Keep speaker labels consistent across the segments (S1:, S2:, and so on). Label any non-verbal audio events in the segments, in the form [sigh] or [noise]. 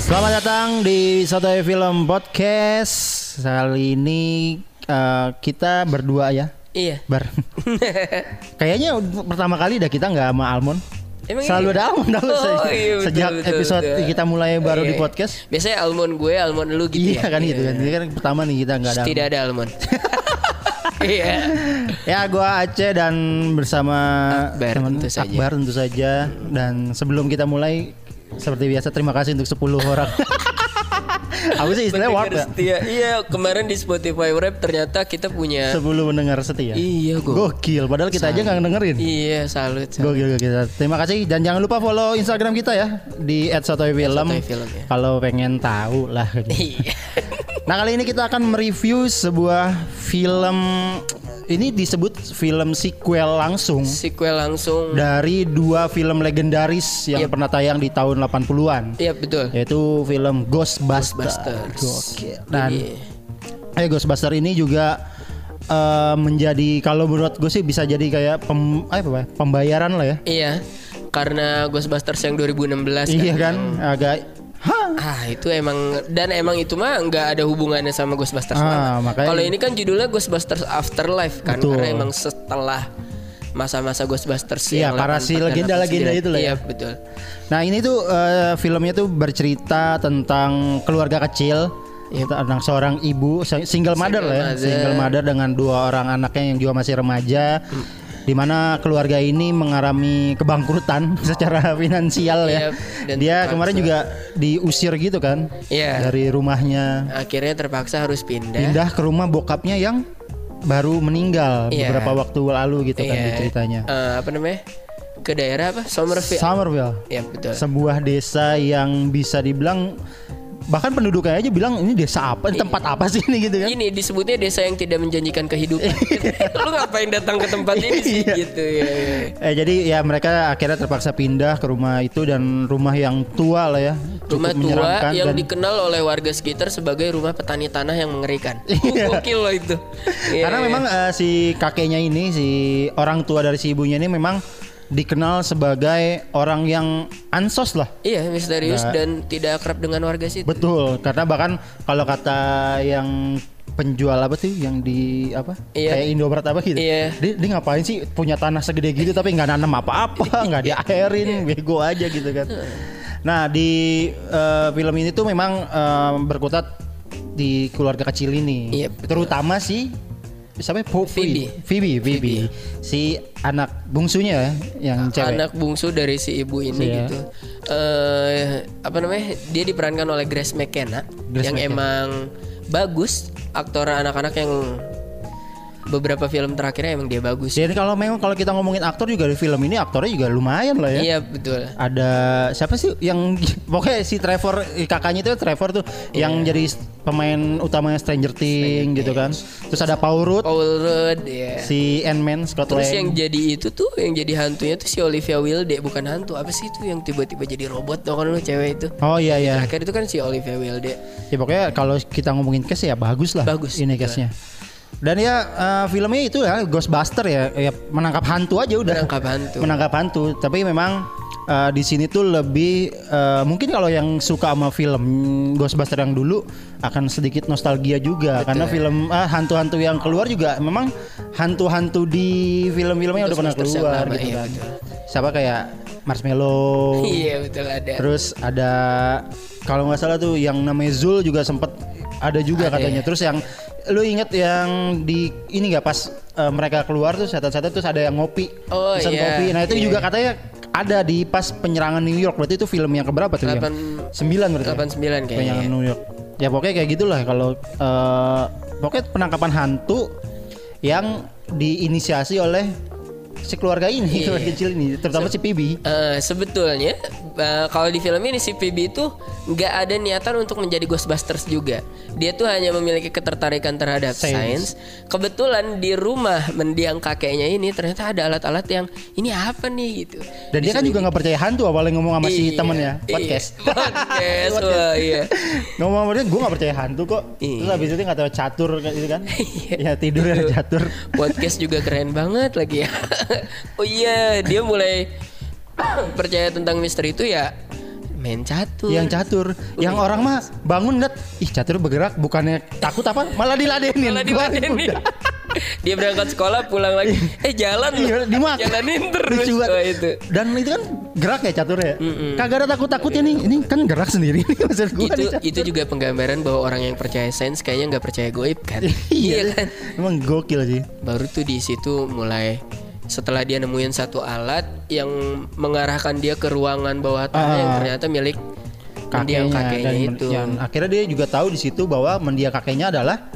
S1: Selamat datang di Sotoy Film Podcast. Kali ini eh, kita berdua ya,
S2: Iya. [laughs]
S1: bar. Kayaknya untuk pertama kali dah kita nggak sama Almond.
S2: Emang
S1: Selalu
S2: iya?
S1: ada Almond tau
S2: [laughs] Oh,
S1: se-
S2: iya, betul,
S1: sejak
S2: betul,
S1: episode
S2: betul.
S1: kita mulai baru
S2: Iya,
S1: di
S2: iya.
S1: podcast.
S2: Biasanya almond gue, almond lu gitu
S1: Iya
S2: ya.
S1: kan gitu
S2: Iya.
S1: kan. Ini kan pertama nih kita nggak ada.
S2: Tidak ada
S1: [laughs]
S2: almond. Iya.
S1: Almond. Ya, gua Aceh dan bersama
S2: Akbar, tentu saja.
S1: Akbar tentu saja. Dan sebelum kita mulai seperti biasa terima kasih untuk 10
S2: [laughs]
S1: orang. Apa sih istilahnya warp
S2: Pendengar
S1: ya?
S2: setia. Iya, kemarin di Spotify Wrap ternyata kita punya
S1: Sebelum mendengar setia.
S2: Iya, gua.
S1: Gokil, padahal kita aja nggak dengerin.
S2: Iya, salut. salut.
S1: Gokil, gokil. Terima kasih dan jangan lupa follow Instagram kita ya di @sotoyfilm.
S2: @sotoyfilm, ya.
S1: Kalau pengen tahu
S2: [laughs]
S1: lah. [laughs]
S2: Iya.
S1: nah, kali ini kita akan mereview sebuah film ini disebut film sequel langsung
S2: Sequel langsung.
S1: dari dua film legendaris yang
S2: Yep.
S1: pernah tayang di tahun 80-an.
S2: Iya, betul.
S1: Yaitu film Ghostbusters.
S2: Ghostbusters.
S1: Gokil. Dan
S2: Iya.
S1: Eh Ghostbuster ini juga eh, menjadi kalau menurut gue sih bisa jadi kayak pem, eh, apa ya, pembayaran lah ya.
S2: Iya. Karena Ghostbusters yang 2016
S1: Iya kan
S2: yang-
S1: agak
S2: Ah itu emang dan emang itu mah nggak ada hubungannya sama Ghostbusters
S1: Ah,
S2: lama.
S1: makanya-
S2: Kalau ini kan judulnya Ghostbusters Afterlife kan
S1: Betul.
S2: karena emang setelah masa-masa Ghostbusters
S1: Iya,
S2: yang
S1: para si
S2: 84,
S1: legenda-legenda
S2: 89.
S1: itu lah ya.
S2: Iya betul.
S1: Nah ini tuh eh, filmnya tuh bercerita tentang keluarga kecil tentang seorang ibu se- single mother
S2: Iya. Single
S1: lah ya
S2: mother.
S1: single mother dengan dua orang anaknya yang juga masih remaja
S2: Hmm.
S1: di mana keluarga ini mengalami kebangkrutan [laughs] secara finansial ya.
S2: Yep, Iya, dan
S1: Dia
S2: terpaksa.
S1: kemarin juga diusir gitu kan
S2: Iya.
S1: dari rumahnya.
S2: Akhirnya terpaksa harus pindah.
S1: pindah ke rumah bokapnya yang baru meninggal
S2: Iya.
S1: beberapa waktu lalu gitu kan
S2: Iya.
S1: di ceritanya.
S2: Eh, apa namanya? Ke daerah apa? Somerville.
S1: Somerville.
S2: Iya betul.
S1: Sebuah desa yang bisa dibilang bahkan penduduknya aja bilang ini desa apa, tempat apa sih ini gitu kan.
S2: ini disebutnya desa yang tidak menjanjikan kehidupan. [laughs] Lu ngapain datang ke tempat ini sih
S1: Iya.
S2: gitu ya. ya.
S1: Eh jadi ya mereka akhirnya terpaksa pindah ke rumah itu dan rumah yang tua lah ya.
S2: Rumah
S1: cukup
S2: tua
S1: menyeramkan
S2: yang
S1: dan-
S2: dikenal oleh warga sekitar sebagai rumah petani tanah yang mengerikan.
S1: [laughs]
S2: Oh,
S1: Iya.
S2: Gokil loh itu. Iya,
S1: [laughs] Karena
S2: iya.
S1: memang eh, si kakeknya ini, si orang tua dari si ibunya ini memang dikenal sebagai orang yang ansos lah.
S2: iya misterius
S1: Nah.
S2: dan tidak akrab dengan warga situ.
S1: Betul, karena bahkan kalau kata yang penjual apa tuh yang di apa
S2: Iya.
S1: kayak Indomaret apa gitu
S2: Iya.
S1: dia, dia ngapain sih punya tanah segede gitu tapi nggak nanam apa-apa
S2: [laughs] Iya.
S1: nggak diakhirin bego aja gitu kan nah di eh, film ini tuh memang eh, berkutat di keluarga kecil ini
S2: Iya, betul.
S1: terutama si siapa ya? Poppy.
S2: Phoebe. iya. Ah,
S1: Phoebe Phoebe si anak bungsunya ya, yang cewek
S2: Anak bungsu dari si ibu ini
S1: Iya.
S2: gitu. Eh apa namanya? Dia diperankan oleh Grace McKenna
S1: Grace
S2: yang
S1: McKenna.
S2: emang bagus aktor anak-anak yang beberapa film terakhirnya emang dia bagus.
S1: jadi kalau memang kalau kita ngomongin aktor juga di film ini aktornya juga lumayan lah ya
S2: Iya betul.
S1: ada siapa sih yang [laughs] pokoknya si Trevor eh, kakaknya itu Trevor tuh yang jadi s- pemain utamanya Iya. Stranger Things Oh, iya. gitu kan. Terus ada Paul Rudd,
S2: Paul Rudd ya.
S1: si Ant-Man Scott
S2: Terus yang
S1: Lang.
S2: jadi itu tuh yang jadi hantunya tuh si Olivia Wilde bukan hantu apa sih itu yang tiba-tiba jadi robot tau kan lu cewek itu
S1: Oh iya iya.
S2: terakhir itu kan si Olivia Wilde
S1: Ya pokoknya kalau kita ngomongin case ya bagus lah.
S2: Bagus, Iya.
S1: ini
S2: betul.
S1: case-nya. Dan ya eh, filmnya itu ya Ghostbuster ya, ya menangkap hantu aja udah.
S2: Menangkap hantu.
S1: Menangkap hantu. Tapi memang eh, di sini tuh lebih eh, mungkin kalau yang suka sama film Ghostbuster yang dulu akan sedikit nostalgia juga karena
S2: ya.
S1: film ah, hantu-hantu yang keluar juga memang hantu-hantu di film-filmnya udah pernah
S2: Ghostbusters yang
S1: keluar
S2: lama,
S1: gitu
S2: iya,
S1: kan.
S2: betul.
S1: Siapa kayak Marshmallow.
S2: iya betul ada
S1: Oh. Terus ada kalau nggak salah tuh yang namanya Zul juga sempet ada juga
S2: Ada
S1: katanya.
S2: ya.
S1: Terus yang lu inget yang di ini nggak pas eh, mereka keluar tuh setan-setan terus ada yang ngopi,
S2: Oh,
S1: pesan
S2: iya,
S1: kopi. Nah itu
S2: iya.
S1: juga katanya ada di pas penyerangan New York. Berarti itu film yang keberapa tuh?
S2: Delapan-
S1: yang? Sembilan berarti. ya?
S2: 89 kayaknya.
S1: Penyerangan New York. Ya pokoknya kayak gitulah kalau eh, pokoknya penangkapan hantu yang diinisiasi oleh si keluarga ini, [laughs]
S2: Iya.
S1: keluarga kecil ini, terutama si Phoebe.
S2: Eh, sebetulnya eh, kalau di film ini si Phoebe itu nggak ada niatan untuk menjadi Ghostbusters juga. Dia tuh hanya memiliki ketertarikan terhadap
S1: Sains.
S2: sains. Kebetulan di rumah mendiang kakeknya ini ternyata ada alat-alat yang ini apa nih gitu.
S1: Dan dia kan juga nggak percaya hantu awalnya ngomong sama si
S2: Iya,
S1: temennya
S2: iya.
S1: [laughs] podcast.
S2: [laughs] Podcast, wah, iya.
S1: ngomong sama dia, gue nggak percaya hantu kok.
S2: Iya.
S1: Terus habis itu nggak tahu catur kayak gitu kan?
S2: [laughs] Iya.
S1: ya tidur ya catur.
S2: Podcast juga keren banget lagi
S1: [laughs]
S2: ya. oh iya, dia mulai [coughs] percaya tentang misteri itu ya main catur.
S1: Yang catur, yang
S2: Iya.
S1: orang mah bangun liat, ih catur bergerak bukannya takut apa? Malah diladenin.
S2: Malah
S1: Gua
S2: diladenin.
S1: udah-
S2: Dia [laughs] berangkat sekolah pulang lagi. Eh jalan.
S1: [laughs] Iya, dimakan.
S2: Jalanin terus.
S1: Lucu banget.
S2: Wah, itu.
S1: Dan itu kan gerak ya caturnya. Kagak ada takut-takutnya nih. Ini kan gerak sendiri nih maksud gua
S2: Itu
S1: nih, catur.
S2: itu juga penggambaran bahwa orang yang percaya sains kayaknya nggak percaya goib kan.
S1: [laughs] iya
S2: iya kan.
S1: Emang gokil sih.
S2: Baru tuh di situ mulai setelah dia nemuin satu alat yang mengarahkan dia ke ruangan bawah tanah
S1: Ah.
S2: yang ternyata milik mendiang kakeknya
S1: dan
S2: itu.
S1: yang akhirnya dia juga tahu di situ bahwa mendiang kakeknya adalah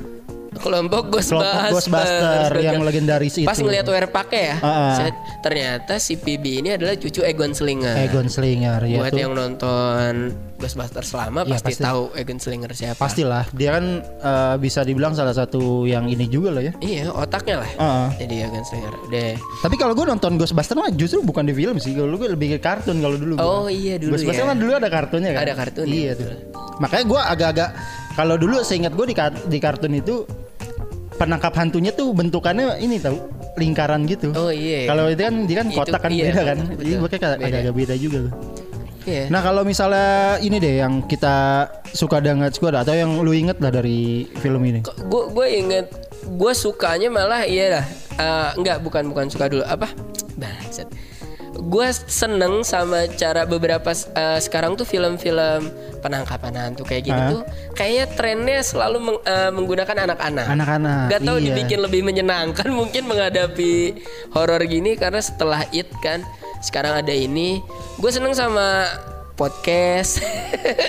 S2: kelompok Ghostbusters,
S1: Kelompok Ghostbuster yang legendaris
S2: Pas
S1: itu.
S2: ngeliat wear pakai ya,
S1: Ah.
S2: set, ternyata si PB ini adalah cucu Egon Slinger.
S1: Egon Slinger ya
S2: Nah. Buat
S1: tuh.
S2: yang nonton Ghostbusters selama
S1: Iya, pasti.
S2: pasti, tahu Egon Slinger siapa.
S1: Pastilah dia kan eh, bisa dibilang salah satu yang ini juga loh ya.
S2: Iya, otaknya lah.
S1: Ah.
S2: Jadi Egon Slinger. Deh.
S1: Tapi kalau gue nonton Ghostbuster mah justru bukan di film sih. Kalau gue lebih ke kartun kalau dulu. gua.
S2: Oh, iya, dulu
S1: Ghostbuster
S2: ya.
S1: kan dulu ada kartunnya kan.
S2: Ada kartunnya,
S1: Iya tuh.
S2: betul.
S1: Makanya gue agak-agak kalau dulu seingat gue di, kar- di kartun itu penangkap hantunya tuh bentukannya ini tahu lingkaran gitu.
S2: Oh, iya.
S1: Kalau itu kan dia kan
S2: Itu,
S1: kotak kan
S2: iya,
S1: beda kan.
S2: betul,
S1: Jadi makanya agak-
S2: beda.
S1: agak-agak beda juga tuh.
S2: Iya.
S1: Nah kalau misalnya ini deh yang kita suka dan nggak suka atau yang lu inget lah dari film ini.
S2: gue gue inget gue sukanya malah iya dah Eh, nggak bukan bukan suka dulu apa bangsat gue seneng sama cara beberapa eh, sekarang tuh film-film penangkapan hantu kayak gitu
S1: Hah?
S2: tuh kayaknya trennya selalu meng- eh, menggunakan anak-anak
S1: Anak-anak,
S2: nggak tahu
S1: iya.
S2: dibikin lebih menyenangkan mungkin menghadapi horor gini karena setelah it kan sekarang ada ini gue seneng sama podcast [laughs]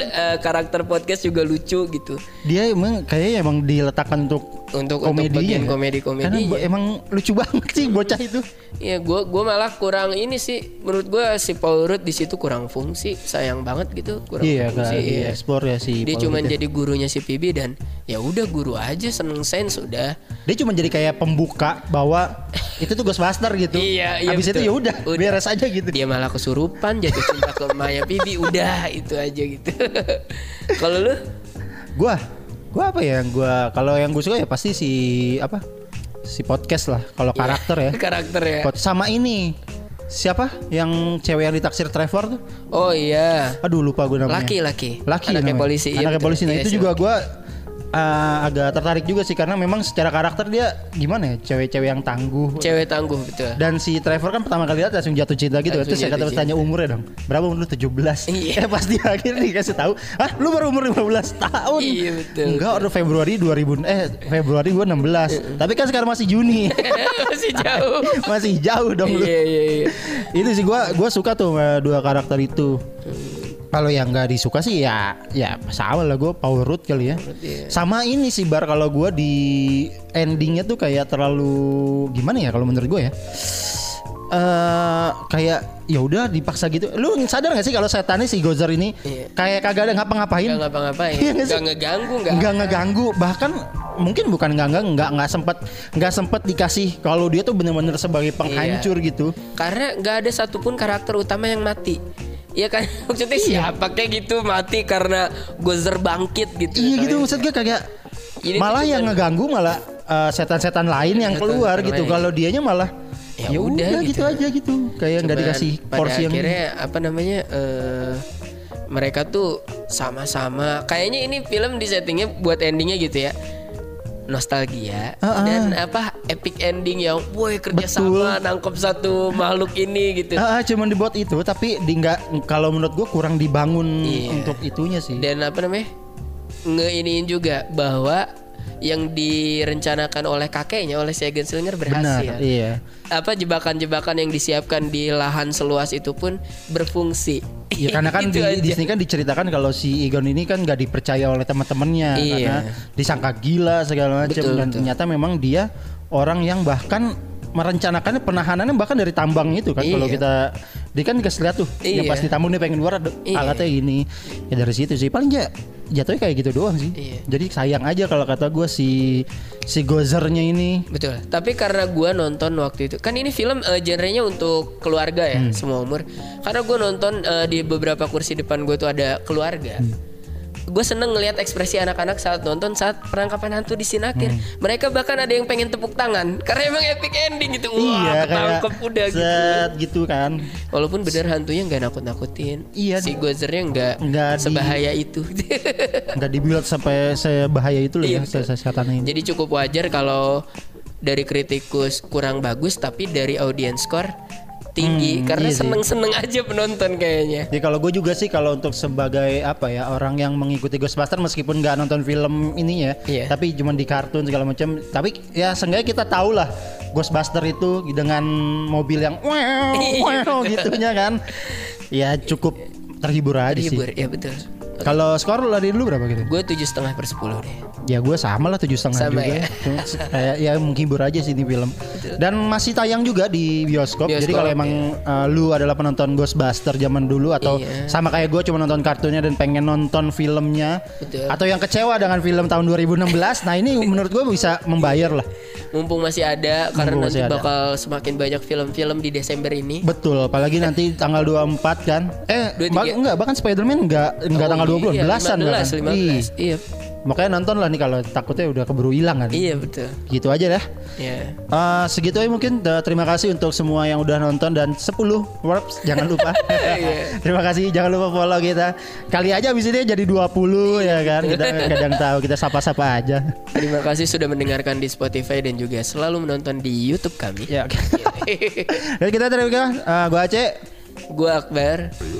S2: Eh, karakter podcast juga lucu gitu
S1: Dia emang kayaknya emang diletakkan untuk
S2: Untuk- untuk
S1: komedinya
S2: bagian
S1: ya.
S2: komedi-komedinya.
S1: Karena bo- emang lucu [laughs] banget sih bocah itu.
S2: Ya gua gua malah kurang ini sih menurut gua si Paul Rudd di situ kurang fungsi sayang banget gitu kurang
S1: Iya
S2: fungsi
S1: kan
S2: iya.
S1: dieksplor ya si
S2: dia
S1: Paul
S2: cuma
S1: Rudd ya.
S2: jadi gurunya si PB dan ya udah guru aja seneng sains udah
S1: dia cuma jadi kayak pembuka bahwa itu tuh Ghostbuster gitu.
S2: Iya, iya,
S1: Habis
S2: betul.
S1: itu ya udah
S2: Udah.
S1: beres aja gitu.
S2: dia malah kesurupan jatuh cinta ke Maya PB udah itu aja gitu [laughs] kalau lu
S1: Gua gua apa ya yang gua kalau yang gua suka ya pasti si apa? Si podcast lah kalau karakter [laughs] ya.
S2: karakter ya
S1: Pod- sama ini. Siapa yang cewek yang ditaksir Trevor tuh?
S2: oh iya
S1: Aduh lupa gue namanya.
S2: Laki, laki.
S1: Laki
S2: Anaknya
S1: namanya.
S2: polisi, iya
S1: Anaknya
S2: betul.
S1: polisi. Nah,
S2: Iya
S1: itu
S2: sih,
S1: juga
S2: laki.
S1: gue agak tertarik juga sih karena memang secara karakter dia gimana ya cewek-cewek yang tangguh.
S2: cewek tangguh betul
S1: Dan si Trevor kan pertama kali lihat langsung jatuh cinta gitu.
S2: Langsung
S1: Terus saya
S2: jatuh
S1: kata tanya umurnya dong. Berapa umur lu? 17. [laughs]
S2: Iya.
S1: Eh pas di akhir dikasih tahu, "Hah, lu baru umur 15 tahun."
S2: Iya, betul, Iya.
S1: Enggak, udah Februari 2000 eh Februari gua 16. Tapi kan sekarang masih
S2: [laughs]
S1: Juni. [laughs]
S2: masih jauh
S1: masih jauh dong lu.
S2: iya iya iya
S1: itu sih gua gua suka tuh sama dua karakter itu kalau yang nggak disuka sih ya ya sama lah gue power root kali ya sama ini sih bar kalau gua di endingnya tuh kayak terlalu gimana ya kalau menurut gue ya eh kayak ya udah dipaksa gitu lu sadar gak sih kalau setannya si Gozer ini
S2: Iya.
S1: kayak kagak ada ngapa-ngapain
S2: nggak ngapa-ngapain
S1: Iya nggak sih?
S2: nggak ngeganggu nggak
S1: nggak ngeganggu bahkan mungkin bukan nggak nggak nggak nggak sempet nggak sempet dikasih kalau dia tuh bener-bener sebagai penghancur gitu
S2: karena nggak ada satupun karakter utama yang mati Iya kan [laughs] maksudnya siapa kayak gitu mati karena gozer bangkit gitu
S1: Iya gitu
S2: Tapi-
S1: maksud gue kagak
S2: Ini
S1: malah
S2: tuh
S1: yang
S2: cuman-
S1: ngeganggu malah eh, setan-setan lain yang
S2: Setan-setan
S1: keluar
S2: lain.
S1: gitu. Kalau dianya malah
S2: Ya
S1: ya
S2: udah
S1: udah gitu
S2: gitu."
S1: aja gitu. Kayak nggak
S2: Cuman
S1: dikasih
S2: pada
S1: porsi yang
S2: akhirnya apa namanya eh, mereka tuh sama-sama kayaknya ini film di settingnya buat endingnya gitu ya nostalgia
S1: Ah, ah.
S2: dan apa epic ending yang woi kerja
S1: Betul.
S2: sama nangkep satu makhluk ini gitu
S1: Ah, ah, cuman dibuat itu tapi di nggak kalau menurut gue kurang dibangun
S2: Iya.
S1: untuk itunya sih.
S2: dan apa namanya ngeiniin juga bahwa yang direncanakan oleh kakeknya oleh si Egon Slinger
S1: Benar,
S2: berhasil
S1: iya.
S2: apa jebakan-jebakan yang disiapkan di lahan seluas itu pun berfungsi [laughs]
S1: Ya karena kan di,
S2: Itu Gitu aja.
S1: di sini kan diceritakan kalau si Egon ini kan nggak dipercaya oleh teman-temannya
S2: Iya.
S1: karena disangka gila segala macam
S2: Betul,
S1: dan
S2: betul.
S1: ternyata memang dia orang yang bahkan merencanakannya penahanannya bahkan dari tambang itu kan kalau
S2: Iya.
S1: kita dia kan dikasih lihat tuh dia
S2: Iya.
S1: pas ditambang dia pengen luar ada
S2: Iya.
S1: alatnya gini ya dari situ sih paling ya jatuhnya kayak gitu doang sih
S2: Iya.
S1: jadi sayang aja kalau kata gue si si gozernya ini
S2: Betul. Tapi karena gua nonton waktu itu, kan ini film eh, genrenya untuk keluarga ya,
S1: Hmm.
S2: semua umur. Karena gua nonton eh, di beberapa kursi depan gue tuh ada keluarga.
S1: Hmm.
S2: Gue seneng ngelihat ekspresi anak-anak saat nonton saat penangkapan hantu di Sinakir.
S1: Hmm.
S2: Mereka bahkan ada yang pengen tepuk tangan [laughs] karena emang epic ending gitu.
S1: Iya,
S2: Wah, ketangkep udah gitu.
S1: set gitu kan
S2: Walaupun bener hantunya nggak nakut-nakutin,
S1: Iya.
S2: si gozernya nggak
S1: Nggak di-
S2: sebahaya itu. [laughs]
S1: nggak dibuat sampai sebahaya itu loh ya
S2: Iya, betul.
S1: sesatannya ini
S2: Jadi cukup wajar kalau dari kritikus kurang bagus tapi dari audience score tinggi
S1: Hmm,
S2: karena
S1: iya sih. Iya
S2: seneng-seneng aja penonton kayaknya.
S1: Jadi Ya, kalau gue juga sih kalau untuk sebagai apa ya orang yang mengikuti Ghostbuster meskipun nggak nonton film ininya,
S2: Iya.
S1: tapi cuma di kartun segala macam. Tapi ya seenggaknya kita tahu lah Ghostbuster itu dengan mobil yang wow
S2: Iya,
S1: wow
S2: betul.
S1: gitunya kan. Ya cukup terhibur aja
S2: Hibur,
S1: sih.
S2: ya betul.
S1: Kalau skor lu dari dulu berapa gitu?
S2: Gue tujuh setengah per sepuluh deh.
S1: Ya gue sama lah tujuh setengah
S2: Sama
S1: juga.
S2: ya.
S1: Cuma se- [laughs] Kayak ya menghibur aja sih ini film. Dan masih tayang juga di bioskop. Jadi
S2: Bioskop,
S1: kalau emang uh, lu adalah penonton Ghostbuster zaman dulu atau
S2: Iya.
S1: sama kayak gue cuma nonton kartunya dan pengen nonton filmnya
S2: Betul.
S1: atau yang kecewa dengan film tahun 2016, nah ini menurut gue bisa membayar lah.
S2: Iya. Mumpung masih ada karena
S1: Mumpung
S2: nanti
S1: masih ada.
S2: bakal semakin banyak film-film di Desember ini.
S1: Betul, apalagi nanti tanggal 24 kan. Eh,
S2: 23.
S1: bah- enggak, bahkan Spider-Man enggak enggak
S2: Oh,
S1: tanggal
S2: iya,
S1: 20 belasan bahkan.
S2: 15, 15.
S1: Ih,
S2: Iya,
S1: Makanya nonton lah nih kalau takutnya udah keburu hilang kan.
S2: iya betul.
S1: Gitu aja lah.
S2: Ya.
S1: Eh, segitu aja mungkin Eh, terima kasih untuk semua yang udah nonton dan 10 words jangan lupa terima kasih jangan lupa follow kita kali aja abis ini jadi 20 ya kan kita kadang tahu kita sapa-sapa aja
S2: Terima kasih sudah mendengarkan di Spotify dan juga selalu menonton di YouTube kami.
S1: [laughs] ya dan kita terima kasih Eh, gua Aceh
S2: Gue Akbar.